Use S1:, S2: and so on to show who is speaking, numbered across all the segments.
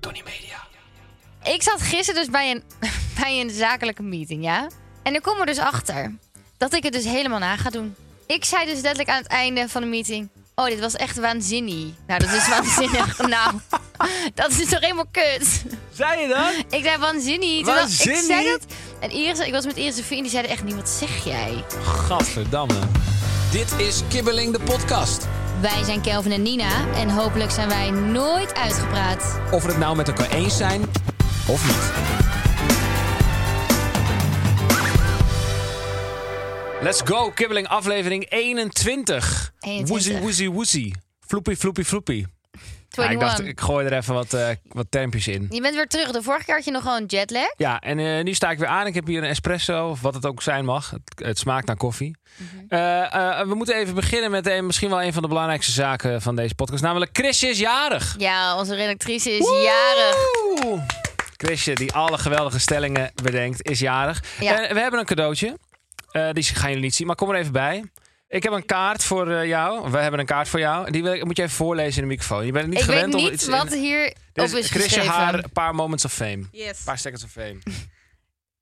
S1: Tony Media.
S2: Ik zat gisteren dus bij een, bij een zakelijke meeting, ja? En ik kom er dus achter dat ik het dus helemaal na ga doen. Ik zei dus letterlijk aan het einde van de meeting... Oh, dit was echt waanzinnig. Nou, dat is waanzinnig. nou, dat is toch helemaal kut.
S1: Zei je dat?
S2: Ik zei waanzinnig. Terwijl Ik zei
S1: Waanzinnig?
S2: dat. En Iris, ik was met Iris en vriend, die zeiden echt niet, wat zeg jij?
S1: Gadverdamme. Dit is Kibbeling de podcast.
S2: Wij zijn Kelvin en Nina en hopelijk zijn wij nooit uitgepraat.
S1: Of we het nou met elkaar eens zijn of niet. Let's go, Kibbeling aflevering 21.
S2: 21.
S1: Woezie, woezie, woezie. Floepie, floepie, floepie. Ja, ik
S2: 21.
S1: dacht, ik gooi er even wat, eh, wat termpjes in.
S2: Je bent weer terug. De vorige keer had je nog gewoon jetlag.
S1: Ja, en eh, nu sta ik weer aan. Ik heb hier een espresso, of wat het ook zijn mag. Het, het smaakt naar koffie.
S2: Mhm.
S1: Eh, eh, we moeten even beginnen met een, misschien wel een van de belangrijkste zaken van deze podcast. Namelijk, Chrisje is jarig.
S2: Ja, onze redactrice is jarig.
S1: Oeh. Chrisje, die alle geweldige stellingen bedenkt, is jarig.
S2: Ja.
S1: Eh, we hebben een cadeautje. Eh, die gaan jullie niet zien, maar kom er even bij. Ik heb een kaart voor eh, jou. We hebben een kaart voor jou. Die wil ik, moet je even voorlezen in de microfoon. Je bent het niet
S2: Ik weet
S1: gewend om
S2: niet
S1: iets
S2: wat
S1: in-
S2: hier
S1: Dit
S2: op is
S1: Chrisje
S2: geschreven.
S1: haar een paar moments of fame. Een
S3: Yes.
S1: paar seconds of fame.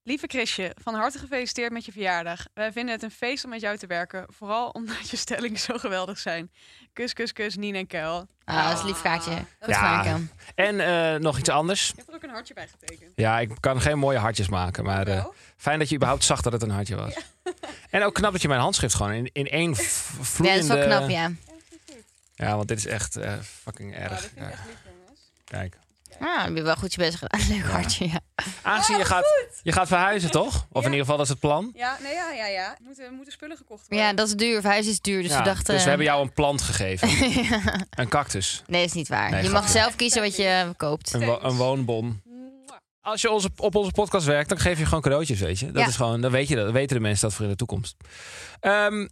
S3: Lieve Chrisje, van harte gefeliciteerd met je verjaardag. Wij vinden het een feest om met jou te werken. Vooral omdat je stellingen zo geweldig zijn. Kus, kus, kus, Nien en Kuil.
S2: Ah, dat is een lief kaartje. Goed
S1: Ja.
S2: gedaan, Kel.
S1: En eh, nog iets anders.
S3: Je hebt er ook een hartje bij getekend. Oh,
S1: Ja, ik kan geen mooie hartjes maken. Maar
S2: Oh.
S1: eh, fijn dat je überhaupt zag dat het een hartje was. En ook knap dat je mijn handschrift gewoon in, in één v-
S2: Ja, dat
S1: vloeiende...
S2: is wel knap, ja.
S1: Ja, want dit is echt eh, fucking
S2: Oh,
S1: erg. Ja. Kijk.
S2: Ah, dan heb je wel goed je best gedaan. Leuk hartje, ja. Oh,
S1: Aangezien je, gaat, je gaat verhuizen, toch? Of in ieder geval, dat is het plan.
S3: Ja, nee, ja, ja, ja. Moeten, moeten spullen gekocht worden.
S2: Ja, dat is duur. Huis is duur, dus
S1: Ja,
S2: we dachten...
S1: dus we hebben jou een plant gegeven. Een cactus.
S2: Nee, dat is niet waar.
S1: Nee,
S2: je mag
S1: grapje.
S2: zelf kiezen wat je koopt.
S1: Een, wo- een woonbon. Als je onze, op onze podcast werkt, dan geef je gewoon cadeautjes, weet je. Dat
S2: Ja.
S1: is gewoon, dan weet je dat, weten de mensen dat voor in de toekomst. Ehm,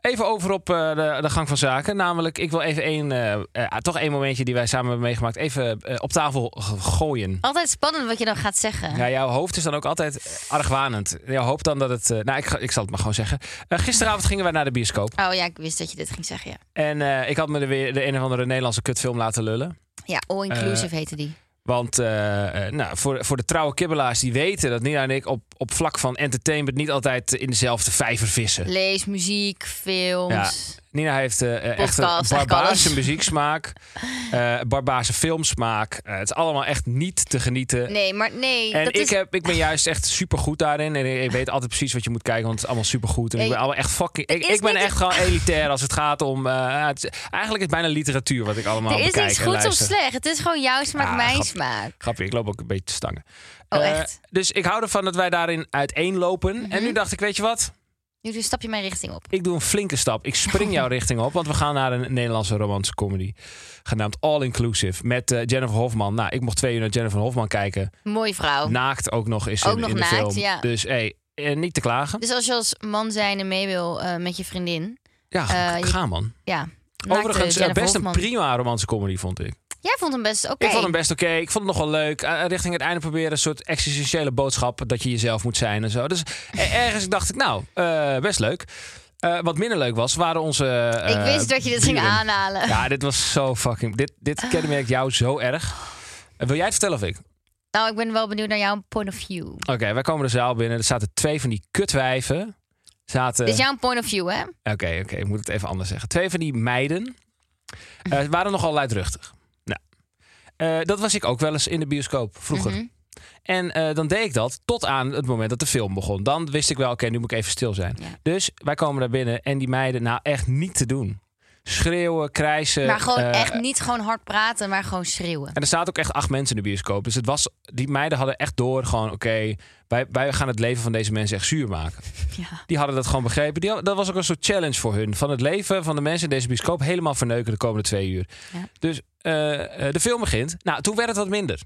S1: even over op eh, de, de gang van zaken. Namelijk, ik wil even één, eh, eh, toch één momentje die wij samen hebben meegemaakt, even eh, op tafel g- gooien.
S2: Altijd spannend wat je dan gaat zeggen.
S1: Ja, jouw hoofd is dan ook altijd argwanend. Jouw hoopt dan dat het... eh, nou, ik, ga- ik zal het maar gewoon zeggen. Eh, gisteravond gingen wij naar de bioscoop.
S2: Oh ja, ik wist dat je dit ging zeggen, ja.
S1: En eh, ik had me de, weer de een of andere Nederlandse kutfilm laten lullen.
S2: Ja, All Inclusive
S1: Eh,
S2: heette die.
S1: Want eh, eh, nou, voor, voor de trouwe kibbelaars die weten dat Nina en ik op, op vlak van entertainment niet altijd in dezelfde vijver vissen.
S2: Lees, muziek, films.
S1: Nina heeft eh, eh, echt een
S2: Podcast, eigenlijk
S1: barbaarse
S2: alles.
S1: muzieksmaak, eh barbaarse filmsmaak. Eh, het is allemaal echt niet te genieten.
S2: Nee, maar nee.
S1: En
S2: dat
S1: ik,
S2: is...
S1: heb, ik ben juist echt supergoed daarin. En ik ik weet altijd precies wat je moet kijken, want het is allemaal supergoed. En ik
S2: Nee,
S1: ben allemaal echt fucking. Ik,
S2: is
S1: ik ben
S2: niet-
S1: echt gewoon elitair als het gaat om. eh, ja, het is- eigenlijk is het bijna literatuur wat ik allemaal
S2: er is
S1: bekijk
S2: niks
S1: en
S2: goeds of
S1: luister.
S2: slecht. Het is gewoon jouw smaak,
S1: Ah,
S2: mijn
S1: grap.
S2: smaak.
S1: Grappig, ik loop ook een beetje te stangen.
S2: Oh,
S1: Eh,
S2: echt? Mhm.
S1: Dus ik hou ervan dat wij daarin uiteenlopen. En nu dacht ik, weet je wat?
S2: Nu doe- stap je mijn richting op.
S1: Ik doe een flinke stap. Ik spring jouw richting op, want we gaan naar een Nederlandse romantische comedy. Genaamd All Inclusive, met eh, Jennifer Hofman. Nou, ik mocht twee uur naar Jennifer Hofman kijken.
S2: Mooie vrouw.
S1: Naakt ook nog is ze
S2: Oh. Ook
S1: in,
S2: nog
S1: in de
S2: naakt,
S1: film.
S2: ja.
S1: Dus hey, eh, niet te klagen.
S2: Dus als je als man zijnde mee wil eh, met je vriendin.
S1: Ja,
S2: eh,
S1: ga man.
S2: Ja. naakte
S1: Overigens, eh,
S2: Jennifer
S1: best een
S2: Hofman.
S1: prima romantische comedy, vond ik.
S2: Jij vond hem best oké.
S1: Ik vond hem best oké. Ik vond het nog wel leuk. Eh, richting het einde proberen een soort existentiële boodschap dat je jezelf moet zijn en zo. Dus eh, ergens dacht ik, nou, eh, best leuk. Eh, wat minder leuk was, waren onze. eh,
S2: Ik wist dat je dit ging Ah.
S1: buren.
S2: aanhalen.
S1: Ja, dit was zo fucking. Dit, dit kenmerkt jou zo erg. Eh, wil jij het vertellen of ik?
S2: Nou, ik ben wel benieuwd naar jouw point of view.
S1: Oké, wij komen de zaal binnen. Er zaten twee van die kutwijven. Zaten.
S2: Dit is jouw point of view, hè?
S1: Oké, oké, ik moet het even anders zeggen. Twee van die meiden eh, waren nogal luidruchtig. Nou, eh, dat was ik ook wel eens in de bioscoop vroeger.
S2: Mhm.
S1: En eh, dan deed ik dat tot aan het moment dat de film begon. Dan wist ik wel, oké, nu moet ik even stil zijn.
S2: Ja.
S1: Dus wij komen daar binnen en die meiden, nou echt niet te doen. Schreeuwen, krijsen.
S2: Maar gewoon
S1: eh,
S2: echt niet gewoon hard praten, maar gewoon schreeuwen.
S1: En er zaten ook echt acht mensen in de bioscoop. Dus het was, die meiden hadden echt door gewoon, oké, wij, wij gaan het leven van deze mensen echt zuur maken.
S2: Ja.
S1: Die hadden dat gewoon begrepen. Die, had- dat was ook een soort challenge voor hun. Van het leven van de mensen in deze bioscoop helemaal verneuken de komende twee uur.
S2: Ja.
S1: Dus eh, eh, de film begint. Nou, toen werd het wat minder.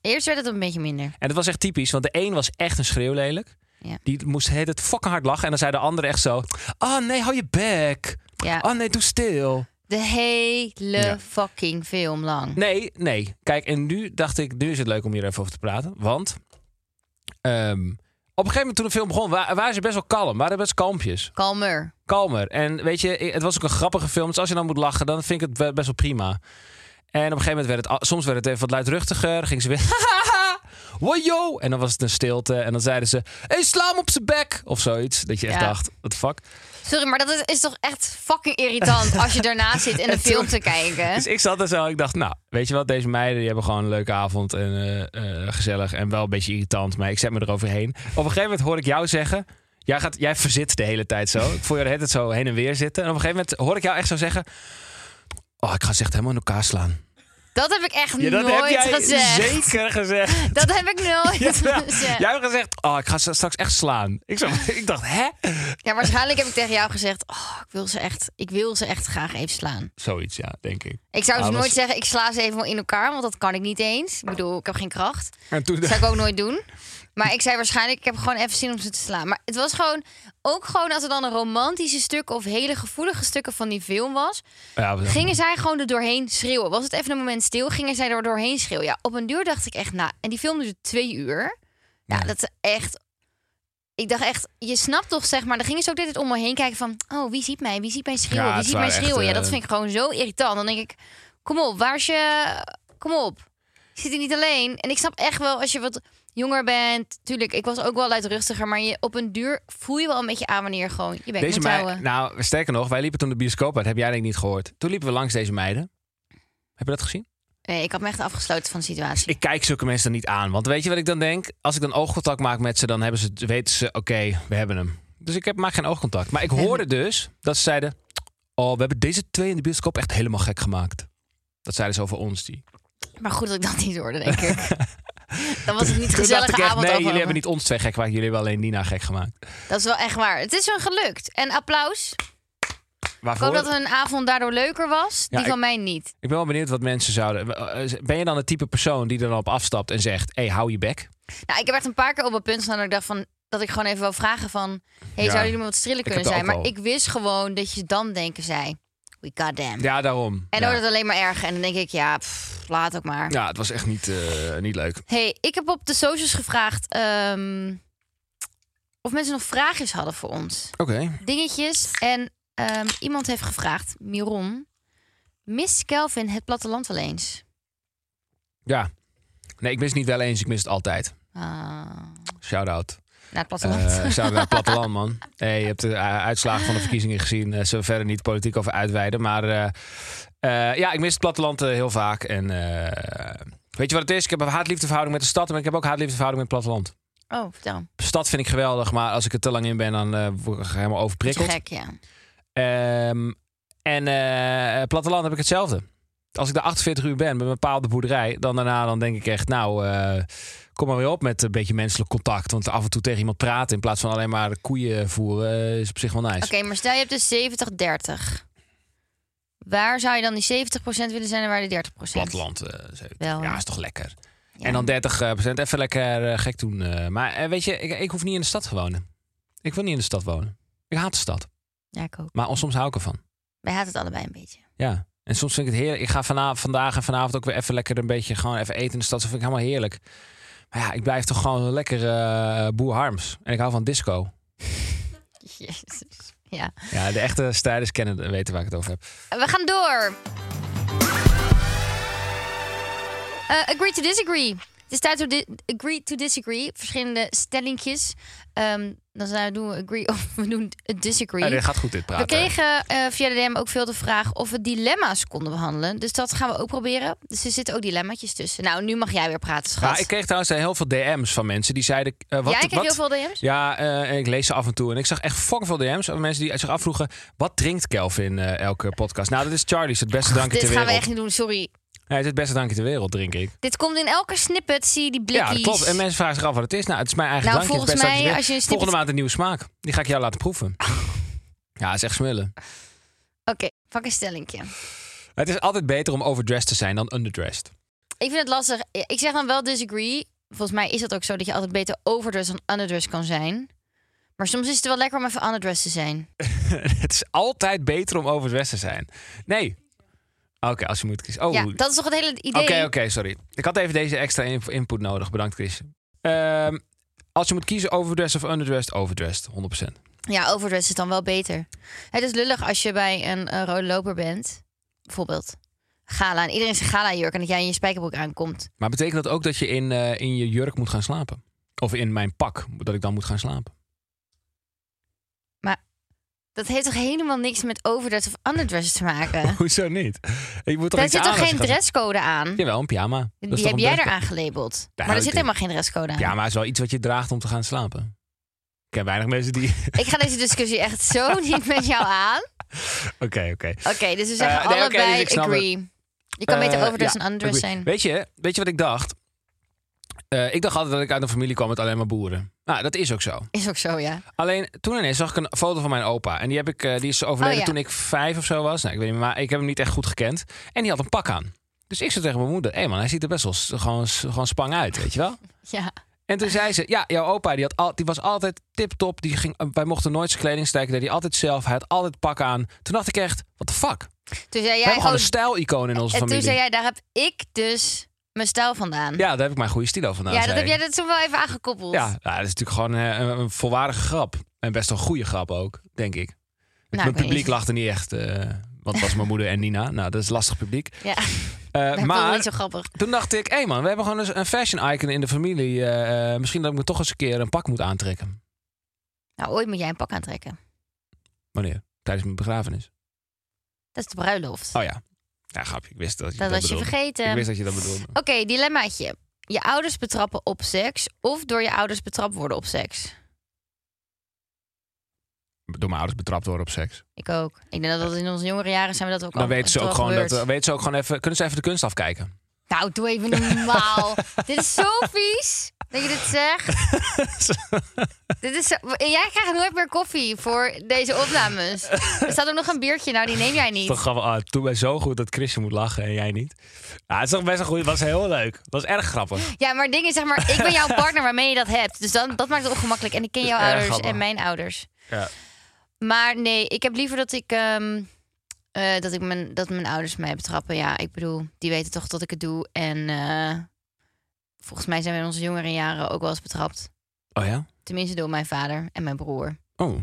S2: Eerst werd het een beetje minder.
S1: En dat was echt typisch, want de een was echt een schreeuwlelijk.
S2: Ja.
S1: Die moest het het fucking hard lachen. En dan zei de ander echt zo: Oh nee, hou je bek.
S2: Ja.
S1: Oh nee, doe stil.
S2: De hele
S1: Ja.
S2: fucking film lang.
S1: Nee, nee. Kijk, en nu dacht ik: Nu is het leuk om hier even over te praten. Want ehm, op een gegeven moment toen de film begon, wa- waren ze best wel kalm. Waren best kalmpjes.
S2: Kalmer.
S1: kalmer. En weet je, het was ook een grappige film. Dus als je dan moet lachen, dan vind ik het be- best wel prima. En op een gegeven moment werd het, al- soms werd het even wat luidruchtiger. Ging ze weer, wojo! En dan was het een stilte. En dan zeiden ze, hey, sla hem op zijn bek! Of zoiets. Dat je echt
S2: Ja.
S1: dacht, what the fuck?
S2: Sorry, maar dat is, is toch echt fucking irritant als je daarnaast zit en de
S1: En toen-
S2: film te kijken.
S1: Dus ik zat er zo, ik dacht, nou, weet je wat? Deze meiden, die hebben gewoon een leuke avond. En eh, eh, gezellig en wel een beetje irritant. Maar ik zet me eroverheen. Op een gegeven moment hoor ik jou zeggen... Jij, gaat, jij verzit de hele tijd zo. Ik voel je de hele tijd zo heen en weer zitten. En op een gegeven moment hoor ik jou echt zo zeggen... Oh, ik ga ze echt helemaal in elkaar slaan.
S2: Dat heb ik echt
S1: Ja, dat
S2: nooit
S1: heb jij
S2: gezegd.
S1: zeker gezegd.
S2: Dat heb ik nooit
S1: Jawel.
S2: gezegd.
S1: Jij hebt gezegd, oh, ik ga ze straks echt slaan. Ik, zo, ik dacht, hè?
S2: Ja, waarschijnlijk heb ik tegen jou gezegd: oh, ik, wil ze echt, ik wil ze echt graag even slaan.
S1: Zoiets, ja, denk ik.
S2: Ik zou
S1: Ah,
S2: dus
S1: dat
S2: nooit
S1: is-
S2: zeggen: ik sla ze even in elkaar, want dat kan ik niet eens. Ik bedoel, ik heb geen kracht.
S1: En toen
S2: Dat zou ik ook nooit doen. Maar ik zei waarschijnlijk: ik heb gewoon even zin om ze te slaan. Maar het was gewoon ook gewoon als er dan een romantische stuk of hele gevoelige stukken van die film was,
S1: Ja, we-
S2: gingen zij gewoon er doorheen schreeuwen. Was het even een moment stil, gingen zij er doorheen schreeuwen. Ja, op een duur dacht ik echt na. En die film duurde twee uur. Ja,
S1: Ja.
S2: dat is echt. Ik dacht echt, je snapt toch zeg maar. Dan gingen ze ook dit het om me heen kijken van, oh wie ziet mij, wie ziet mij schreeuwen,
S1: Ja,
S2: wie
S1: het
S2: ziet mij
S1: waren echt,
S2: schreeuwen. ja, dat
S1: eh,
S2: vind ik gewoon zo irritant. Dan denk ik, kom op, waar is je, kom op. Je zit hier niet alleen. En ik snap echt wel als je wat jonger bent. Tuurlijk, ik was ook wel luidruchtiger, maar je, op een duur voel je wel een beetje aan wanneer je gewoon je bek
S1: Deze
S2: moet houden.
S1: meiden, nou, sterker nog, wij liepen toen de bioscoop uit. Heb jij denk ik niet gehoord. Toen liepen we langs deze meiden. Heb je dat gezien?
S2: Nee, ik had me echt afgesloten van de situatie.
S1: Ik kijk zulke mensen dan niet aan. Want weet je wat ik dan denk? Als ik dan oogcontact maak met ze, dan hebben ze, weten ze, oké, we hebben hem. Dus ik heb, maak geen oogcontact. Maar ik hoorde dus dat ze zeiden... Oh, we hebben deze twee in de bioscoop echt helemaal gek gemaakt. Dat zeiden ze over ons, die.
S2: Maar goed dat ik dat niet hoorde, denk ik. Dan was het niet
S1: Toen dacht
S2: gezellige
S1: ik echt,
S2: avond
S1: nee,
S2: over.
S1: jullie hebben niet ons twee gek gemaakt. Jullie hebben alleen Nina gek gemaakt.
S2: Dat is wel echt waar. Het is hun gelukt. En applaus. Ik
S1: Waarvoor?
S2: hoop dat hun avond daardoor leuker was.
S1: Ja,
S2: Die
S1: ik-
S2: van mij niet.
S1: Ik ben wel benieuwd wat mensen zouden... eh, Ben je dan het type persoon die er dan op afstapt en zegt... Hé, hey, hou je bek.
S2: Nou, ik heb echt een paar keer op een punt staan dat ik dacht van dat ik gewoon even wil vragen van, hey,
S1: Ja.
S2: zouden jullie me wat striller
S1: Ik heb
S2: kunnen
S1: dat
S2: zijn?
S1: ook
S2: Maar ik wist gewoon dat je dan denken zei, we goddamn.
S1: Ja, daarom.
S2: En dan
S1: ja.
S2: wordt het alleen maar erger. En dan denk ik, ja, pff, laat ook maar.
S1: ja, het was echt niet, eh, niet leuk.
S2: Hey, ik heb op de socials gevraagd ehm, of mensen nog vraagjes hadden voor ons.
S1: Oké.
S2: dingetjes. En ehm, iemand heeft gevraagd, Miron, mist Kelvin het platteland wel eens?
S1: Ja. Nee, ik mis het niet wel eens. Ik mis het altijd.
S2: Ah,
S1: Shout-out.
S2: naar het platteland.
S1: Eh shout-out naar het platteland, man. Hey, je hebt de eh, uitslagen van de verkiezingen gezien. Eh, zullen we verder niet politiek over uitweiden. Maar eh, eh, ja, ik mis het platteland eh, heel vaak. En eh, weet je wat het is? Ik heb een haat-liefdeverhouding met de stad. Maar ik heb ook haat-liefdeverhouding met het platteland.
S2: Oh, vertel.
S1: De stad vind ik geweldig. Maar als ik er te lang in ben, dan eh, word ik helemaal
S2: Beetje
S1: overprikkeld.
S2: gek, ja.
S1: Ehm, en eh, platteland heb ik hetzelfde. Als ik daar 48 uur ben bij een bepaalde boerderij, dan daarna dan denk ik echt, nou, eh, kom maar weer op met een beetje menselijk contact. Want af en toe tegen iemand praten in plaats van alleen maar koeien voeren eh, is op zich wel nice.
S2: Oké, maar stel je hebt dus 70-30. Waar zou je dan die 70% willen zijn en waar die 30%?
S1: Platteland, eh, zo.
S2: Wel,
S1: ja,
S2: hè?
S1: is toch lekker.
S2: Oh. Ja.
S1: En dan 30 even lekker eh, gek doen. eh. maar eh, weet je, ik, ik hoef niet in de stad te wonen. Ik wil niet in de stad wonen. Ik haat de stad,
S2: Ja, ik ook.
S1: maar soms hou ik ervan.
S2: Wij haat het allebei een beetje.
S1: Ja. En soms vind ik het heerlijk. Ik ga vanavond, vandaag en vanavond ook weer even lekker een beetje gewoon even eten in de stad. Dat vind ik helemaal heerlijk. Maar ja, ik blijf toch gewoon lekker eh, boer Harms. En ik hou van disco.
S2: Jezus. Ja.
S1: Ja, de echte strijders kennen het en weten waar ik het over heb.
S2: We gaan door. Eh, agree to disagree. Het staat to di- agree to disagree. Verschillende stellingjes. Ehm, dan zijn we, doen we agree of we doen disagree.
S1: Ja, Eh, dit gaat goed dit
S2: We
S1: praten.
S2: kregen eh, via de DM ook veel de vraag of we dilemma's konden behandelen. Dus dat gaan we ook proberen. Dus er zitten ook dilemmaatjes tussen. Nou, nu mag jij weer praten, schat.
S1: Ja, ik kreeg trouwens eh, heel veel DM's van mensen die zeiden... eh, wat,
S2: jij kreeg
S1: wat,
S2: heel veel DM's?
S1: Ja, eh, en ik lees ze af en toe. En ik zag echt fucking veel DM's van mensen die zich afvroegen... wat drinkt Kelvin eh, elke podcast? Nou, dat is Charlie's, het beste drankje
S2: Dit
S1: ter
S2: gaan
S1: wereld.
S2: we echt niet doen, sorry.
S1: Hij is het beste drankje ter wereld, drink ik.
S2: Dit komt in elke snippet, zie je die blikjes.
S1: Ja, dat klopt. En mensen vragen zich af wat het is. Nou, het is mijn eigen
S2: Nou,
S1: drankje. het
S2: volgens
S1: beste drankje
S2: mij,
S1: ter
S2: als je een
S1: wereld.
S2: snippet...
S1: Volgende maand een nieuwe smaak. Die ga ik jou laten proeven. Ja, het is echt smullen.
S2: Oké, pak een stellingje.
S1: Het is altijd beter om overdressed te zijn dan underdressed.
S2: Ik vind het lastig. Ik zeg dan wel disagree. Volgens mij is dat ook zo dat je altijd beter overdress dan underdress kan zijn. Maar soms is het wel lekker om even underdress te zijn.
S1: het is altijd beter om overdressed te zijn. Nee. Oké, als je moet kiezen. Oh,
S2: Ja,
S1: oké,
S2: dat is toch het hele idee.
S1: oké, sorry. Ik had even deze extra inf- input nodig. Bedankt, Chris. Ehm, als je moet kiezen overdressed of underdressed, overdressed, 100%.
S2: Ja, overdress is dan wel beter. Het is lullig als je bij een eh, rode loper bent. Bijvoorbeeld. Gala. En iedereen is een gala jurk en dat jij in je spijkerbroek aankomt.
S1: Maar betekent dat ook dat je in, eh, in je jurk moet gaan slapen? Of in mijn pak, dat ik dan moet gaan slapen?
S2: Dat heeft toch helemaal niks met overdress of underdress te maken?
S1: Hoezo niet? Ik moet toch
S2: Daar
S1: iets
S2: zit
S1: aan
S2: toch
S1: als
S2: geen
S1: je gaat-
S2: dresscode aan?
S1: Jawel, een pyjama. Dat is
S2: Die
S1: toch
S2: heb
S1: een
S2: jij
S1: dresscode?
S2: eraan gelabeld.
S1: Ja,
S2: Maar er
S1: ik
S2: zit
S1: denk-
S2: helemaal geen dresscode aan.
S1: Pyjama is wel iets wat je draagt om te gaan slapen. Ik ken weinig mensen die... Oké,
S2: Ik ga deze discussie echt zo niet met jou aan.
S1: oké.
S2: Oké, dus we zeggen
S1: Eh, nee, oké, dus
S2: allebei
S1: ik snap het.
S2: agree. Je kan beter
S1: Eh,
S2: overdress
S1: ja,
S2: en underdress
S1: agree.
S2: zijn.
S1: Weet je, weet je wat ik dacht? Eh, ik dacht altijd dat ik uit een familie kwam met alleen maar boeren. Nou, dat is ook zo.
S2: Is ook zo, ja.
S1: Alleen toen ineens zag ik een foto van mijn opa. En die, heb ik, eh, die is overleden
S2: Oh, ja.
S1: toen ik vijf of zo was. Nou, ik weet niet, maar ik heb hem niet echt goed gekend. En die had een pak aan. Dus ik zei tegen mijn moeder: hé man, hij ziet er best wel s- gewoon, s- gewoon spang uit, weet je wel?
S2: Ja.
S1: En toen zei ze: Ja, jouw opa die had al, die was altijd tip-top. Die ging, eh, wij mochten nooit zijn kleding stijken. Deed hij altijd zelf. Hij had altijd pak aan. Toen dacht ik echt: What the fuck? We
S2: Toen zei jij,
S1: hebben gewoon
S2: oh,
S1: een stijlicoon in onze
S2: en toen
S1: familie.
S2: zei jij, daar heb ik dus mijn stijl vandaan.
S1: Ja, daar heb ik mijn goede stilo vandaan.
S2: Ja, dat
S1: zei
S2: heb
S1: ik.
S2: jij dat toen wel even aangekoppeld.
S1: Ja, nou, dat is natuurlijk gewoon eh, een, een volwaardige grap. En best wel een goede grap ook, denk ik.
S2: Nou,
S1: Mijn
S2: ik weet
S1: publiek
S2: niet.
S1: lachte niet echt. eh, want het was mijn moeder en Nina. Nou, dat is lastig publiek.
S2: Ja,
S1: Eh,
S2: dat maar...
S1: maar
S2: niet zo grappig.
S1: toen dacht ik, hé man, we hebben gewoon eens een fashion icon in de familie. Eh, eh, misschien dat ik me toch eens een keer een pak moet aantrekken.
S2: Nou, ooit moet jij een pak aantrekken.
S1: Wanneer? Tijdens mijn begrafenis.
S2: Dat is de bruiloft.
S1: Oh ja. Ja, grapje. Ik wist dat je
S2: dat
S1: dat,
S2: was je
S1: bedoelde.
S2: vergeten.
S1: Ik
S2: Oké,
S1: wist dat je dat bedoelde.
S2: dilemmaatje. Je ouders betrappen op seks of door je ouders betrapt worden op seks.
S1: Door mijn ouders betrapt worden op seks.
S2: Ik ook. Ik denk dat, dat in onze jongere jaren zijn we dat ook
S1: Dan
S2: al
S1: weten ze,
S2: wel
S1: ook gewoon dat,
S2: Oh,
S1: eh,
S2: gebeurd.
S1: dan weten ze ook gewoon even... Kunnen ze even de kunst afkijken?
S2: Nou, doe even normaal. dit is zo vies dat je dit zegt. dit is zo... en Jij krijgt nooit meer koffie voor deze opnames. Er staat ook nog een biertje. Nou, die neem jij niet.
S1: Toch grappig. Ah, toen ben zo goed dat Chrisje moet lachen en jij niet. Ja, het is toch best een goed. was heel leuk. Het was erg grappig.
S2: Ja, maar dingen zeg maar, ik ben jouw partner waarmee je dat hebt. Dus dan, dat maakt het ongemakkelijk. En ik ken jouw
S1: Erg
S2: ouders
S1: grappig.
S2: en mijn ouders.
S1: Ja.
S2: Maar nee, ik heb liever dat ik, ehm, eh, dat, ik mijn, dat mijn ouders mij betrappen. Ja, ik bedoel, die weten toch dat ik het doe. En eh, volgens mij zijn we in onze jongere jaren ook wel eens betrapt.
S1: Oh ja?
S2: Tenminste door mijn vader en mijn broer.
S1: Oh.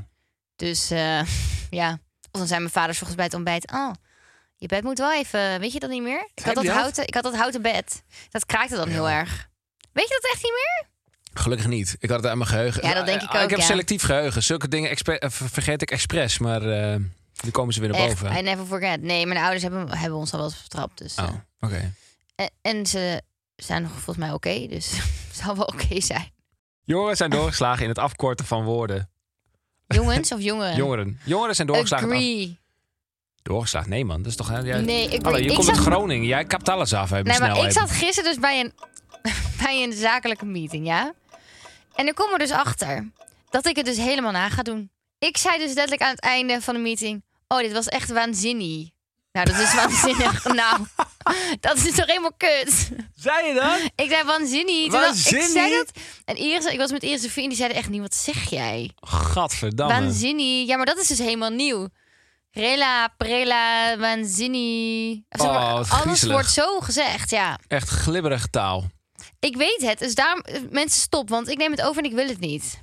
S2: Dus eh, ja, of dan zijn mijn vaders volgens bij het ontbijt. Oh, je bed moet wel even, weet je dat niet meer? Ik
S1: Heb
S2: had dat,
S1: je dat?
S2: houten, ik had dat houten bed. Dat kraakte dan heel erg. Weet je dat echt niet meer?
S1: Gelukkig niet. Ik had het uit mijn geheugen.
S2: Ja, dat denk ik
S1: Ah,
S2: ook,
S1: Ik heb
S2: ja.
S1: selectief geheugen. Zulke dingen expe- eh, ver- vergeet ik expres, maar eh nu komen ze weer naar
S2: Echt,
S1: boven.
S2: I never forget. Nee, mijn ouders hebben, hebben ons al wel eens vertrapt. Dus,
S1: Oh,
S2: eh,
S1: oké.
S2: en, en ze zijn nog volgens mij oké, dus het zal wel oké zijn.
S1: Jongeren zijn doorgeslagen in het afkorten van woorden.
S2: Jongens of jongeren?
S1: Jongeren. Jongeren zijn doorgeslagen. in het af-
S2: Agree.
S1: Doorgeslagen? Nee man, dat is toch... Jij...
S2: Nee, ik,
S1: Hallo, je
S2: ik
S1: komt
S2: zat
S1: uit Groningen. Jij kapt alles af uit
S2: Nee,
S1: mijn
S2: maar ik
S1: snelheid.
S2: zat gisteren dus bij een, bij een zakelijke meeting, ja. En ik kom er dus achter dat ik het dus helemaal na ga doen. Ik zei dus letterlijk aan het einde van de meeting... Oh, dit was echt waanzinnig. Nou, dat is waanzinnig. nou, dat is toch helemaal kut.
S1: Zei je dat?
S2: Ik zei waanzinnig. terwijl Ik zei
S1: Waanzinnig?
S2: dat. En Iris, ik was met Iris en Fien, die zeiden echt niet... Wat zeg jij?
S1: Gadverdamme.
S2: Waanzinnig. Ja, maar dat is dus helemaal nieuw. Rela, prela, waanzinnig. Zeg maar,
S1: Oh, wat
S2: alles
S1: griezelig.
S2: wordt zo gezegd, ja.
S1: Echt glibberige taal.
S2: Ik weet het, dus daarom eh, mensen stop, want ik neem het over en ik wil het niet.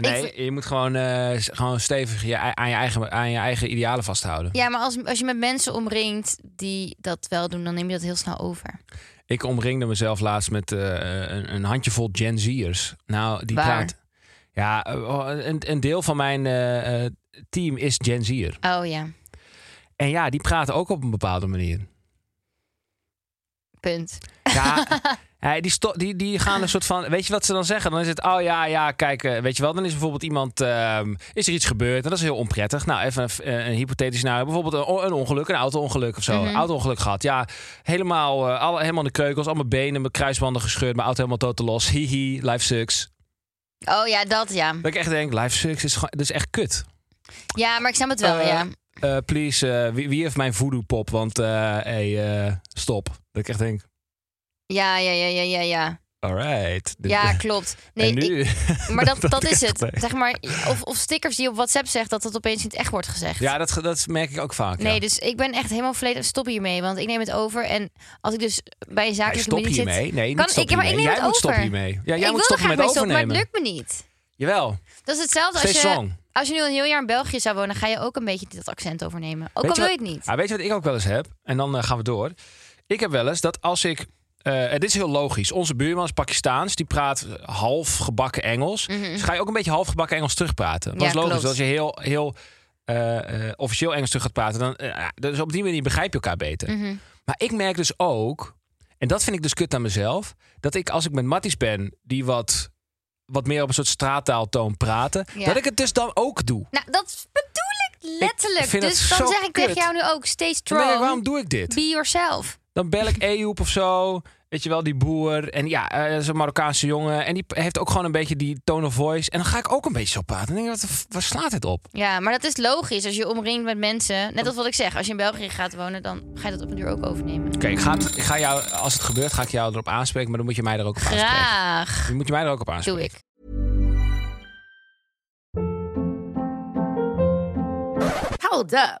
S1: Nee,
S2: vind-
S1: je moet gewoon, eh, s- gewoon stevig je, ei- aan, je eigen, aan je eigen idealen vasthouden.
S2: Ja, maar als, als je met mensen omringt die dat wel doen, dan neem je dat heel snel over.
S1: Ik omringde mezelf laatst met eh, een, een handjevol Gen Z'ers. Nou, die
S2: Waar?
S1: praat... Ja, eh, een, een deel van mijn eh, eh, team is Gen Z'er.
S2: Oh ja,
S1: En ja, die praten ook op een bepaalde manier.
S2: punt.
S1: Ja, ja, die, sto- die, die gaan een soort van. Weet je wat ze dan zeggen? Dan is het. Oh ja, ja, kijk. eh, Weet je wel, dan is bijvoorbeeld iemand. ehm, is er iets gebeurd? En dat is heel onprettig. Nou, even een, f- eh, een hypothetisch scenario. Bijvoorbeeld een, o- een ongeluk, een auto-ongeluk of zo.
S2: Mhm.
S1: Een auto-ongeluk gehad. Ja, helemaal, eh, alle, helemaal in de kreukels. Al mijn benen, mijn kruisbanden gescheurd. Mijn auto helemaal tot de los. Hihi, life sucks.
S2: Oh ja, dat ja.
S1: Dat ik echt denk, life sucks is, gewoon- dat is echt kut.
S2: Ja, maar ik snap het wel,
S1: Eh,
S2: ja.
S1: Eh, please, eh, wie, wie heeft mijn voodoo-pop? Want, eh hey, eh, stop. Dat ik echt denk,
S2: Ja, ja, ja, ja, ja, ja.
S1: alright. Dit-
S2: Ja, klopt. Nee,
S1: Dus- en nu...
S2: ik- maar dat,
S1: dat
S2: dat,
S1: ik
S2: is
S1: echt
S2: het.
S1: denk.
S2: Zeg maar, of, of stickers die je op WhatsApp zegt, dat dat opeens niet echt wordt gezegd.
S1: Ja, dat, ge- dat merk ik ook vaak. ja.
S2: Nee, dus ik ben echt helemaal volledig stop hiermee, want ik neem het over. En als ik dus bij een
S1: Nee,
S2: zakelijke
S1: stop
S2: meeting
S1: hiermee.
S2: zit,
S1: Nee, niet
S2: Kan-
S1: stop
S2: ik- maar ik
S1: hiermee.
S2: neem
S1: Jij
S2: het
S1: moet stoppen
S2: over.
S1: hiermee. Ja, jij
S2: ik
S1: moet
S2: wil er
S1: stoppen
S2: graag
S1: met
S2: mee stoppen, maar
S1: overnemen.
S2: het lukt me niet.
S1: Jawel,
S2: Dat is hetzelfde
S1: stay
S2: als je,
S1: strong.
S2: als je nu een heel jaar in België zou wonen, ga je ook een beetje dat accent overnemen. Ook
S1: Weet
S2: al
S1: je
S2: wil je het niet.
S1: Ah, weet je wat ik ook wel eens heb? En dan eh, gaan we door. Ik heb wel eens dat als ik... eh, en dit is heel logisch. Onze buurman is Pakistaans. Die praat eh, half gebakken Engels.
S2: Mhm.
S1: Dus ga je ook een beetje half gebakken Engels terugpraten. Dat
S2: Ja,
S1: is logisch.
S2: klopt.
S1: Als je heel, heel eh, eh, officieel Engels terug gaat praten... Dan, eh, dus op die manier begrijp je elkaar beter.
S2: Mhm.
S1: Maar ik merk dus ook, en dat vind ik dus kut aan mezelf, dat ik als ik met Matties ben, die wat, wat meer op een soort straattaaltoon praten,
S2: Ja.
S1: dat ik het dus dan ook doe.
S2: Nou, dat bedoel ik letterlijk.
S1: Ik vind
S2: dus
S1: het
S2: dan
S1: zo
S2: zeg ik tegen
S1: kut.
S2: jou nu ook, stay
S1: Dan
S2: strong,
S1: denk ik, waarom doe ik dit?
S2: be yourself.
S1: Dan bel ik Ejoep of zo, weet je wel, die boer. En ja, eh, dat is een Marokkaanse jongen. En die heeft ook gewoon een beetje die tone of voice. En dan ga ik ook een beetje zo praten. Dan denk ik, wat, de f- waar slaat dit op?
S2: Ja, maar dat is logisch als je omringt met mensen. Net als wat ik zeg, als je in België gaat wonen, dan ga je dat op een duur ook overnemen.
S1: Oké, ik, ga het- ik ga jou, als het gebeurt, ga ik jou erop aanspreken. Maar dan moet je mij er ook op aanspreken.
S2: Graag
S1: Dan moet je mij er ook op aanspreken.
S2: doe ik.
S4: Hold up.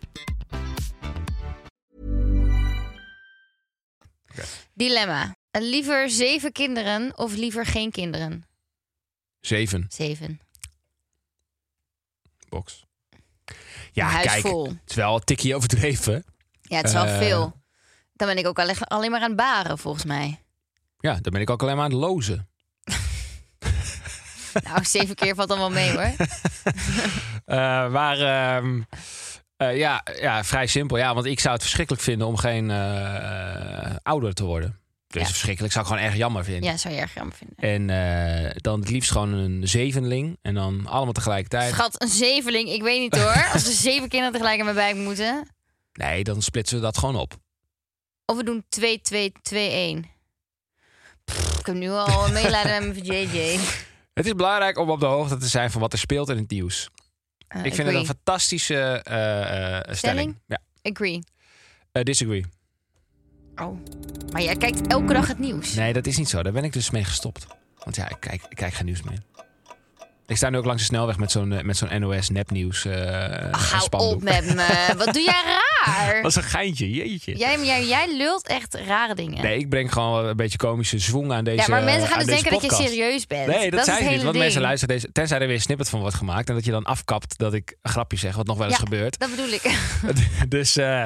S2: Dilemma. Liever zeven kinderen of liever geen kinderen?
S1: Zeven
S2: Zeven.
S1: box. Ja,
S2: Een huis
S1: kijk,
S2: vol.
S1: het is wel een tikje overdreven.
S2: Ja, het is wel
S1: Eh.
S2: veel. Dan ben ik ook alle- alleen maar aan het baren, volgens mij.
S1: Ja, dan ben ik ook alleen maar aan het lozen.
S2: Nou, zeven keer valt dan wel mee, hoor.
S1: Eh, maar ehm, eh, ja, ja, vrij simpel. Ja, want ik zou het verschrikkelijk vinden om geen eh, ouder te worden. Dus
S2: Ja.
S1: verschrikkelijk zou ik gewoon erg jammer vinden.
S2: Ja, zou je erg jammer vinden.
S1: En eh, dan het liefst gewoon een zevenling. En dan allemaal tegelijkertijd.
S2: Schat, een zeveling, ik weet niet hoor. Als er zeven kinderen tegelijk aan mijn buik moeten.
S1: Nee, dan splitsen we dat gewoon op.
S2: Of we doen 2, 2, 2, 1. Pff, ik heb nu al een medelijden met mijn JJ.
S1: Het is belangrijk om op de hoogte te zijn van wat er speelt in het nieuws.
S2: Eh,
S1: ik vind het
S2: agree.
S1: een fantastische eh, eh, stelling. Ja.
S2: Agree.
S1: Eh, disagree.
S2: Oh. Maar jij kijkt elke dag het nieuws.
S1: Nee, dat is niet zo. Daar ben ik dus mee gestopt. Want ja, ik kijk, ik kijk geen nieuws meer. Ik sta nu ook langs de snelweg met zo'n, eh, met zo'n NOS nepnieuws eh
S2: Ach, Ah, hou
S1: spandoek.
S2: op met me. Wat doe jij raar?
S1: Dat is een geintje, jeetje.
S2: Jij, jij, jij lult echt rare dingen.
S1: Nee, ik breng gewoon een beetje komische zwong aan deze eh,
S2: ja, maar mensen gaan
S1: aan
S2: dus
S1: deze
S2: denken dat je
S1: podcast.
S2: serieus bent.
S1: Nee, dat,
S2: is
S1: zijn
S2: het
S1: ze
S2: hele
S1: niet. Want
S2: ding.
S1: mensen luisteren deze... Tenzij er weer een snippet van wordt gemaakt... en dat je dan afkapt dat ik een grapje zeg... wat nog wel eens
S2: Ja.
S1: gebeurt.
S2: Dat bedoel ik.
S1: dus eh,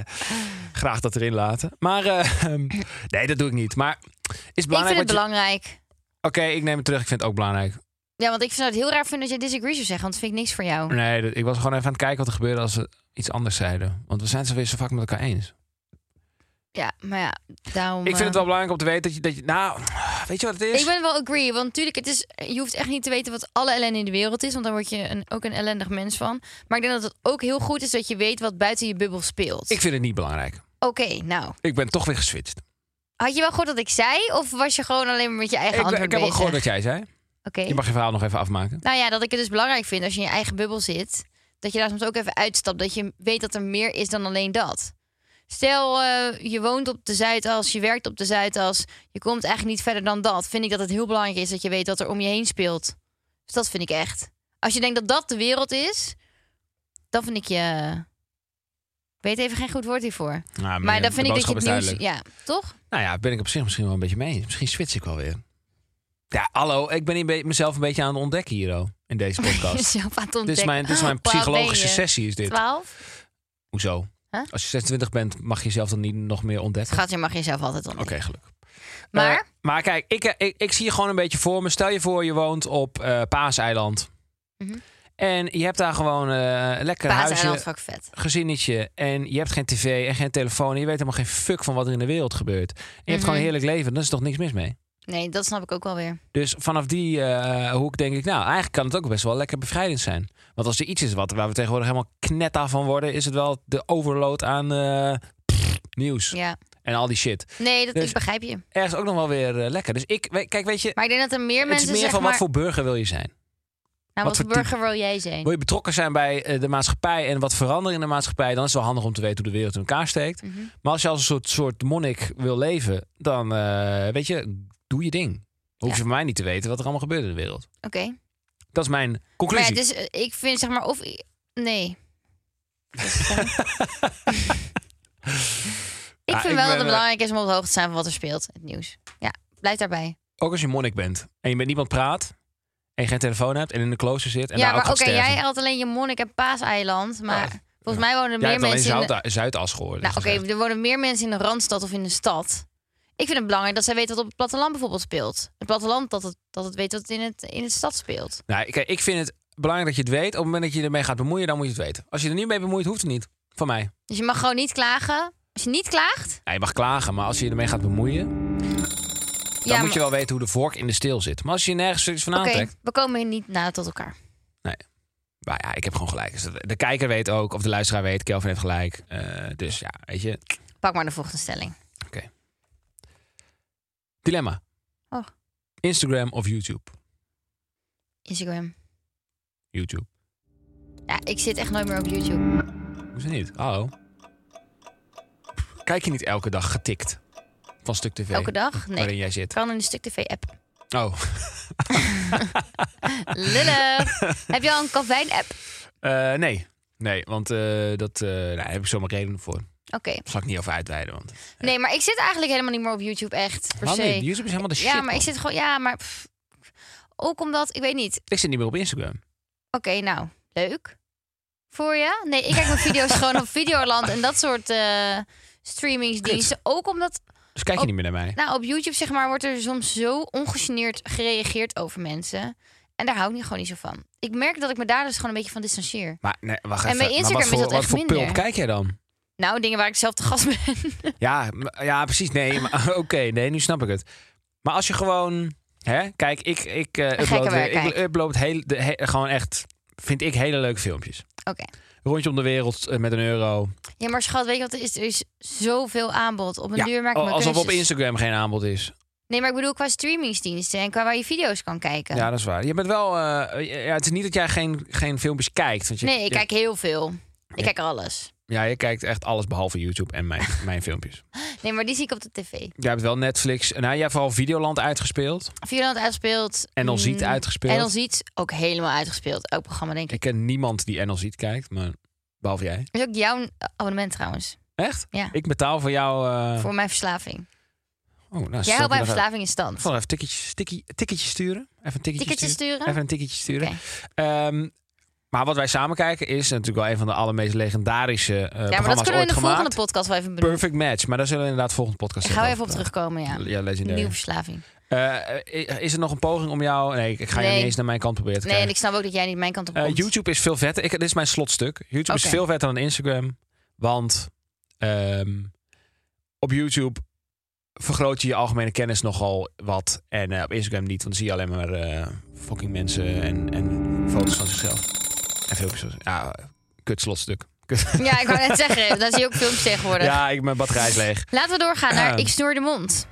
S1: graag dat erin laten. Maar eh, nee, dat doe ik niet. Maar is
S2: ik
S1: belangrijk...
S2: vind het
S1: wat je-
S2: belangrijk.
S1: Oké, ik neem het terug. Ik vind het ook belangrijk.
S2: Ja, want ik zou het heel raar vinden dat jij disagree zou zeggen. Want dat vind ik niks voor jou.
S1: Nee, dat- ik was gewoon even aan het kijken wat er gebeurde als ze iets anders zeiden. Want we zijn het zo weer zo vaak met elkaar eens.
S2: Ja, maar ja, daarom...
S1: Ik vind
S2: eh,
S1: het wel belangrijk om te weten dat je... Dat je nou, weet je wat het is?
S2: Ik ben wel agree, want natuurlijk, het is, je hoeft echt niet te weten wat alle ellende in de wereld is, want dan word je een, ook een ellendig mens van. Maar ik denk dat het ook heel goed is dat je weet wat buiten je bubbel speelt.
S1: Ik vind het niet belangrijk.
S2: Oké, nou.
S1: Ik ben toch weer geswitcht.
S2: Had je wel gehoord wat ik zei, of was je gewoon alleen maar met je eigen
S1: Ik, ben-
S2: antwoord
S1: ik heb ook
S2: bezig?
S1: gehoord wat jij zei.
S2: Oké.
S1: Je mag je verhaal nog even afmaken.
S2: Nou ja, dat ik het dus belangrijk vind als je in je eigen bubbel zit, dat je daar soms ook even uitstapt, dat je weet dat er meer is dan alleen dat. Stel, eh, je woont op de Zuidas, je werkt op de Zuidas. Je komt eigenlijk niet verder dan dat. Vind ik dat het heel belangrijk is dat je weet wat er om je heen speelt. Dus dat vind ik echt. Als je denkt dat dat de wereld is, dan vind ik je... Ik weet even geen goed woord hiervoor.
S1: Nou,
S2: Maar
S1: mijn-
S2: dan
S1: de
S2: vind ik dat je
S1: boodschap
S2: het
S1: is
S2: nieuws...
S1: duidelijk.
S2: Ja, toch?
S1: Nou ja, ben ik op zich misschien wel een beetje mee eens. Misschien switch ik wel weer. Ja, hallo, ik ben een be- mezelf een beetje aan het ontdekken hier, oh, in deze podcast.
S2: Jezelf aan het
S1: dit, is
S2: ontdekken.
S1: mijn, dit is mijn
S2: Hoe oud ben
S1: psychologische
S2: je?
S1: sessie, is dit.
S2: 12?
S1: Hoezo?
S2: Huh?
S1: Als je 26 bent, mag je jezelf dan niet nog meer ontdekken?
S2: Gaat, je mag jezelf altijd
S1: Oké,
S2: ontdekken.
S1: gelukkig.
S2: Maar?
S1: Eh, maar kijk, ik, eh, ik, ik zie je gewoon een beetje voor me. Stel je voor, je woont op eh, Paaseiland.
S2: Mhm.
S1: En je hebt daar gewoon eh lekker
S2: Paas en
S1: huisje,
S2: vak vet.
S1: gezinnetje. En je hebt geen tv en geen telefoon. En je weet helemaal geen fuck van wat er in de wereld gebeurt. En je hebt gewoon een
S2: Mhm.
S1: heerlijk leven. Dan is er toch niks mis mee.
S2: Nee, dat snap ik ook wel weer.
S1: Dus vanaf die eh, hoek denk ik, nou, eigenlijk kan het ook best wel lekker bevrijdend zijn. Want als er iets is wat, waar we tegenwoordig helemaal knetta van worden, is het wel de overload aan eh, pff, nieuws
S2: Ja.
S1: en al die shit.
S2: Nee, dat,
S1: Dus-
S2: ik begrijp je.
S1: ergens ook nog wel weer eh, lekker. Dus ik, we- kijk, weet je,
S2: Maar ik denk dat er meer
S1: het is
S2: mensen
S1: meer
S2: zeg
S1: van
S2: maar,
S1: wat voor burger wil je zijn?
S2: nou,
S1: wat
S2: wat voor
S1: voor type-
S2: burger wil jij zijn?
S1: Wil je betrokken zijn bij eh, de maatschappij en wat veranderen in de maatschappij? Dan is het wel handig om te weten hoe de wereld in elkaar steekt.
S2: Mhm.
S1: Maar als je als een soort, soort monnik wil leven, dan eh, weet je, doe je ding. Hoef je
S2: Ja.
S1: van mij niet te weten wat er allemaal gebeurt in de wereld.
S2: Oké.
S1: Dat is mijn
S2: Maar ja,
S1: conclusie.
S2: dus eh, ik vind zeg maar of... Nee. Wat is het dan? ik
S1: Ja,
S2: vind
S1: ik ben,
S2: wel dat het
S1: eh,
S2: belangrijk is om op de hoogte te zijn van wat er speelt. Het nieuws. Ja, blijf daarbij.
S1: Ook als je monnik bent en je met niemand praat en je geen telefoon hebt en in een klooster zit en
S2: ja,
S1: daar
S2: maar
S1: ook
S2: oké,
S1: gaat sterven. Oh,
S2: jij had alleen je monnik en paaseiland. Maar
S1: Ja,
S2: volgens mij wonen
S1: Jij
S2: er meer
S1: hebt alleen
S2: mensen... in de-
S1: Zuid- Zuidas gehoord.
S2: Nou,
S1: dus
S2: oké,
S1: dat is echt-
S2: er wonen meer mensen in de Randstad of in de stad. Ik vind het belangrijk dat zij weten wat op het platteland bijvoorbeeld speelt. Het platteland dat het, dat het weet wat in het in de stad speelt.
S1: Nou, kijk, ik vind het belangrijk dat je het weet. Op het moment dat je ermee gaat bemoeien, dan moet je het weten. Als je er niet mee bemoeit, hoeft het niet. Van mij.
S2: Dus je mag gewoon niet klagen. Als je niet klaagt,
S1: Ja, je mag klagen, maar als je je ermee gaat bemoeien, dan
S2: ja,
S1: moet je wel weten hoe de vork in de steel zit. Maar als je je nergens iets van
S2: maar- Oké,
S1: aantrekt,
S2: we komen hier niet na tot elkaar.
S1: maar ja, ik heb gewoon gelijk. Dus de- de kijker weet ook, of de luisteraar weet, Kelvin heeft gelijk. Eh, dus ja, weet je,
S2: Pak maar de volgende stelling.
S1: dilemma.
S2: Oh.
S1: Instagram of YouTube?
S2: Instagram.
S1: YouTube.
S2: Ja, ik zit echt nooit meer op YouTube.
S1: Hoezo niet? Hallo? Kijk je niet elke dag getikt van stuk tv
S2: Elke dag? Nee.
S1: waarin
S2: Ik
S1: jij zit?
S2: kan in de Stuk TV-app.
S1: Oh,
S2: Lille. Heb je al een Calvijn-app?
S1: eh, nee. Nee, want eh, dat, eh, nou, daar heb ik zomaar redenen voor. Daar
S2: Oké.
S1: zal ik niet over uitweiden. Want...
S2: Nee, maar ik zit eigenlijk helemaal niet meer op YouTube, echt. Per
S1: Waarom
S2: se.
S1: niet? YouTube is helemaal de shit.
S2: Ja, maar
S1: man.
S2: ik zit gewoon... Ja, maar... pff, ook omdat... Ik weet niet.
S1: ik zit niet meer op Instagram.
S2: Oké, nou, leuk. Voor je? Nee, ik kijk mijn video's gewoon op Videoland en dat soort eh streamingsdiensten. Ook omdat,
S1: Dus kijk je
S2: Op-
S1: niet meer naar mij.
S2: nou, op YouTube zeg maar, wordt er soms zo ongegeneerd gereageerd over mensen. En daar hou ik niet gewoon niet zo van. Ik merk dat ik me daar dus gewoon een beetje van distancieer.
S1: Maar nee, wacht
S2: En
S1: even.
S2: bij
S1: maar
S2: Instagram
S1: wat
S2: is
S1: voor,
S2: dat
S1: wat
S2: echt
S1: voor pulp
S2: minder.
S1: kijk jij dan?
S2: Nou, dingen waar ik zelf te gast ben.
S1: Ja, m- ja precies. Nee, maar oké. nee, nu snap ik het. Maar als je gewoon... Hè, kijk, ik, ik, eh, upload,
S2: gekkenwerk,
S1: weer- ik
S2: kijk.
S1: upload heel, de, he- gewoon echt, vind ik, hele leuke filmpjes.
S2: Oké.
S1: Rondje om de wereld eh, met een euro.
S2: Ja, maar schat, weet je wat? Er is, er is zoveel aanbod. Op een duur maak ik
S1: al-
S2: me
S1: alsof op
S2: keuzes.
S1: Instagram geen aanbod is.
S2: Nee, maar ik bedoel qua streamingsdiensten en qua waar je video's kan kijken.
S1: Ja, dat is waar. Je bent wel... eh, ja, het is niet dat jij geen, geen filmpjes kijkt. Want je,
S2: nee, ik
S1: je-
S2: kijk heel veel. Ik
S1: Ja.
S2: kijk alles.
S1: Ja, je kijkt echt alles behalve YouTube en mijn, mijn filmpjes.
S2: Nee, maar die zie ik op de tv.
S1: Jij hebt wel Netflix. Nou, jij hebt vooral Videoland uitgespeeld.
S2: Vierland uitgespeeld.
S1: En al ziet
S2: Mm,
S1: uitgespeeld.
S2: En al ziet ook helemaal uitgespeeld. Elk programma, denk ik.
S1: Ik ken niemand die NL ziet kijkt, maar behalve jij.
S2: Dat is ook jouw abonnement trouwens.
S1: Echt?
S2: Ja.
S1: Ik betaal voor jou. eh,
S2: Voor mijn verslaving.
S1: Oh, nou,
S2: Jij houdt mijn
S1: nog even-
S2: verslaving in stand.
S1: Ik zal even ticketje, tikkie- ticketje sturen. Even een ticketje,
S2: Ticketjes
S1: sturen.
S2: sturen?
S1: Even een ticketje sturen.
S2: Oké.
S1: Ehm, maar wat wij samen kijken is natuurlijk wel een van de allermeest legendarische eh
S2: ja, maar dat
S1: programma's
S2: kunnen we in
S1: ooit
S2: de
S1: gemaakt.
S2: volgende podcast wel even benoemen.
S1: Perfect match. Maar daar zullen we inderdaad volgende podcast
S2: Daar gaan we even op
S1: over
S2: terugkomen, ja.
S1: praten. Ja, legendary.
S2: Nieuwe verslaving.
S1: Eh, is er nog een poging om jou... Nee, ik ik ga je
S2: Nee.
S1: niet eens naar mijn kant proberen te
S2: Nee, en
S1: krijgen.
S2: ik snap ook dat jij niet mijn kant op
S1: Eh,
S2: komt.
S1: YouTube is veel vetter. Ik, dit is mijn slotstuk. YouTube is
S2: Oké.
S1: veel vetter dan Instagram. Want ehm, op YouTube vergroot je je algemene kennis nogal wat. En eh, op Instagram niet, want dan zie je alleen maar eh, fucking mensen en, en foto's van zichzelf. En filmpjes. van- Ja, kut slotstuk. Kut.
S2: Ja, ik wou net zeggen. Daar zie je ook films tegenwoordig.
S1: Ja, Ehm. ik, mijn batterij is leeg.
S2: Laten we doorgaan naar Ik snoer de mond.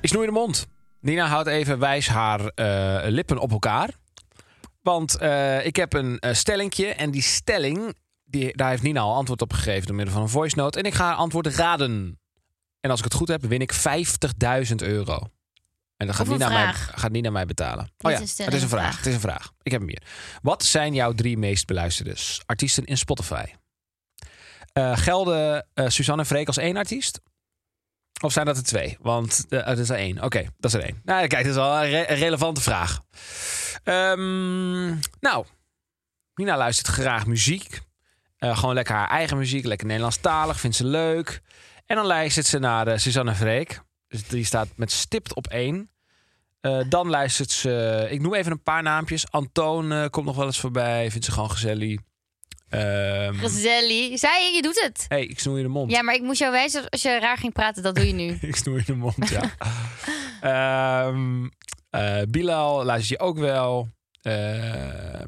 S1: Ik snoei de mond. Nina houdt even wijs haar eh, lippen op elkaar. Want eh, ik heb een eh, stellingje. En die stelling Die, daar heeft Nina al antwoord op gegeven door middel van een voice note. En ik ga haar antwoord raden. En als ik het goed heb, win ik 50.000 euro. En dan gaat
S2: Of een
S1: Nina, mij,
S2: vraag.
S1: gaat Nina mij betalen.
S2: Niet
S1: oh ja,
S2: een stelling,
S1: het is een
S2: een
S1: vraag.
S2: vraag.
S1: Het is een vraag. Ik heb hem hier. Wat zijn jouw drie meest beluisterde s- artiesten in Spotify? Eh, gelden eh, Suzanne en Freek als één artiest? Of zijn dat er twee? Want eh, het is er één. Oké, dat is er één. Nou, kijk, dat is al een, re- een relevante vraag. Ehm, nou, Nina luistert graag muziek. Eh, gewoon lekker haar eigen muziek, lekker Nederlandstalig, vindt ze leuk. En dan luistert ze naar eh, Suzanne Freek. Dus die staat met stipt op één. Eh, dan luistert ze, ik noem even een paar naampjes. Antoon eh, komt nog wel eens voorbij, vindt ze gewoon gezellig. Ehm,
S2: Roselli. Zij, je doet het.
S1: hey, ik snoei je de mond.
S2: Ja, maar ik moest jou wijzen als je raar ging praten. Dat doe je nu.
S1: Ik snoei je de mond, ja. Ehm, eh, Bilal luister je ook wel. Ehm,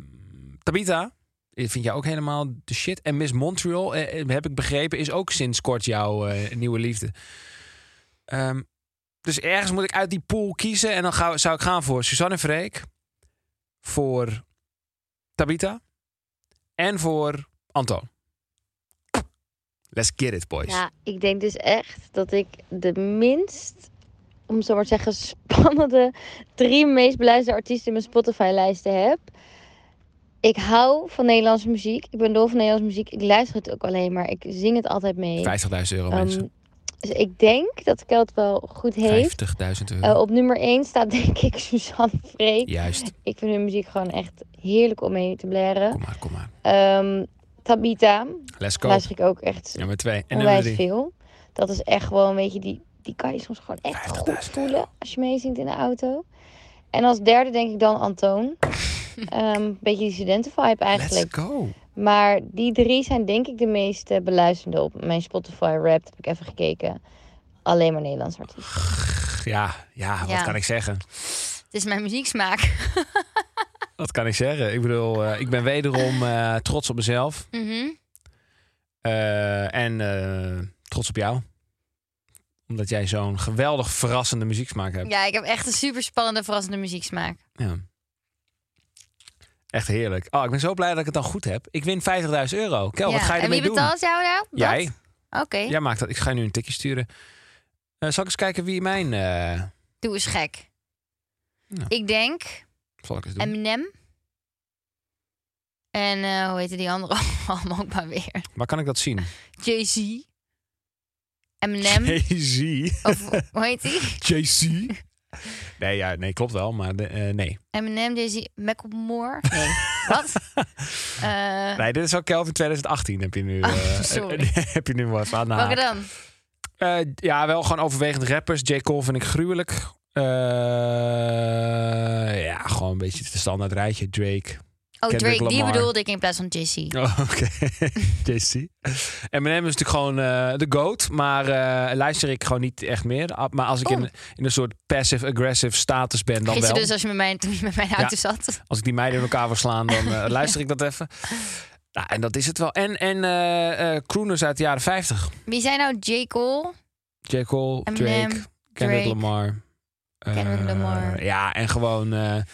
S1: Tabita eh, vind jij ook helemaal de shit. En Miss Montreal, eh, eh, heb ik begrepen, is ook sinds kort jouw eh, nieuwe liefde. Ehm, dus ergens moet ik uit die pool kiezen. En dan ga, zou ik gaan voor Suzanne Freek. Voor Tabita. En voor Anton. Let's get it, boys.
S5: Ja, ik denk dus echt dat ik de minst, om het zo maar te zeggen, spannende drie meest beluisterde artiesten in mijn Spotify-lijsten heb. Ik hou van Nederlandse muziek. Ik ben dol van Nederlandse muziek. Ik luister het ook alleen maar. ik zing het altijd mee.
S1: 50.000 euro,
S5: Ehm,
S1: mensen.
S5: dus ik denk dat Kelt het wel goed heeft.
S1: 50.000 euro.
S5: Eh, op nummer 1 staat denk ik Suzanne Freek.
S1: Juist.
S5: Ik vind hun muziek gewoon echt heerlijk om mee te blaren.
S1: Kom maar, kom maar.
S5: Ehm, Tabita
S1: Let's go.
S5: luister ik ook echt
S1: Nummer twee. En nummer
S5: onwijs
S1: drie.
S5: veel. Dat is echt wel een beetje, die, die kan je soms gewoon echt
S1: 50.000
S5: goed voelen als je meezingt in de auto. En als derde denk ik dan Antoon. Ehm, Een beetje die studentenvibe
S1: Let's
S5: eigenlijk.
S1: go.
S5: Maar die drie zijn denk ik de meest eh, beluisterde op mijn Spotify rap. Heb ik even gekeken. Alleen maar Nederlands artiesten.
S1: Ja, ja, wat
S2: Ja.
S1: kan ik zeggen?
S2: Het is mijn muzieksmaak.
S1: Wat kan ik zeggen? Ik bedoel, eh, ik ben wederom eh, trots op mezelf.
S2: Mhm.
S1: Eh, en eh, trots op jou. Omdat jij zo'n geweldig verrassende muzieksmaak hebt.
S2: Ja, ik heb echt een super spannende, verrassende muzieksmaak.
S1: Ja. Echt heerlijk. Oh, ik ben zo blij dat ik het dan goed heb. Ik win 50.000 euro. Kel, wat
S2: Ja.
S1: ga je
S2: en
S1: ermee
S2: wie
S1: doen?
S2: betaalt jou nou? Dat?
S1: Jij.
S2: Oké,
S1: Jij maakt dat. Ik ga je nu een tikje sturen. Eh, zal ik eens kijken wie mijn... eh,
S2: doe eens gek.
S1: Ja.
S2: Ik denk
S1: zal ik eens doen?
S2: Eminem. En eh, hoe heette die andere allemaal ook maar weer?
S1: Waar kan ik dat zien?
S2: Jay-Z. Eminem.
S1: Jay-Z.
S2: Of hoe heet die?
S1: JC. Nee, ja, nee, klopt wel, maar de- eh, nee.
S2: Eminem, Jay-Z, Macklemore. Nee, wat? Eh,
S1: Nee, dit is wel Kelvin 2018 heb je nu. eh,
S2: Oh, sorry.
S1: heb je nu wat aan de
S2: welke
S1: haak.
S2: dan? Oh,
S1: Eh, ja, wel gewoon overwegend rappers. J. Cole vind ik gruwelijk. Eh, ja, gewoon een beetje het standaard rijtje. Drake.
S2: Oh,
S1: Kendrick
S2: Drake, die
S1: Lamar.
S2: bedoelde ik in plaats van Jay-Z.
S1: Oh, oké. JC. Eminem M&M is natuurlijk gewoon eh, de goat. Maar eh, luister ik gewoon niet echt meer. Ah, Maar als ik in,
S2: Oeh.
S1: in een soort passive-aggressive status ben, dan wel.
S2: Gisteren Oh. dus als je met mij, toen je met mij in de auto zat.
S1: Als ik die meiden in elkaar wil slaan, dan eh, luister ik dat even. Nou, en dat is het wel. En, en eh, eh, crooners uit de jaren 50.
S2: Wie zijn nou J. Cole?
S1: J. Cole,
S2: Eminem,
S1: Drake, Kendrick
S2: M&M, Drake.
S1: Lamar.
S2: Kendrick
S1: Eh,
S2: Lamar.
S1: Ja, en gewoon eh
S2: Dat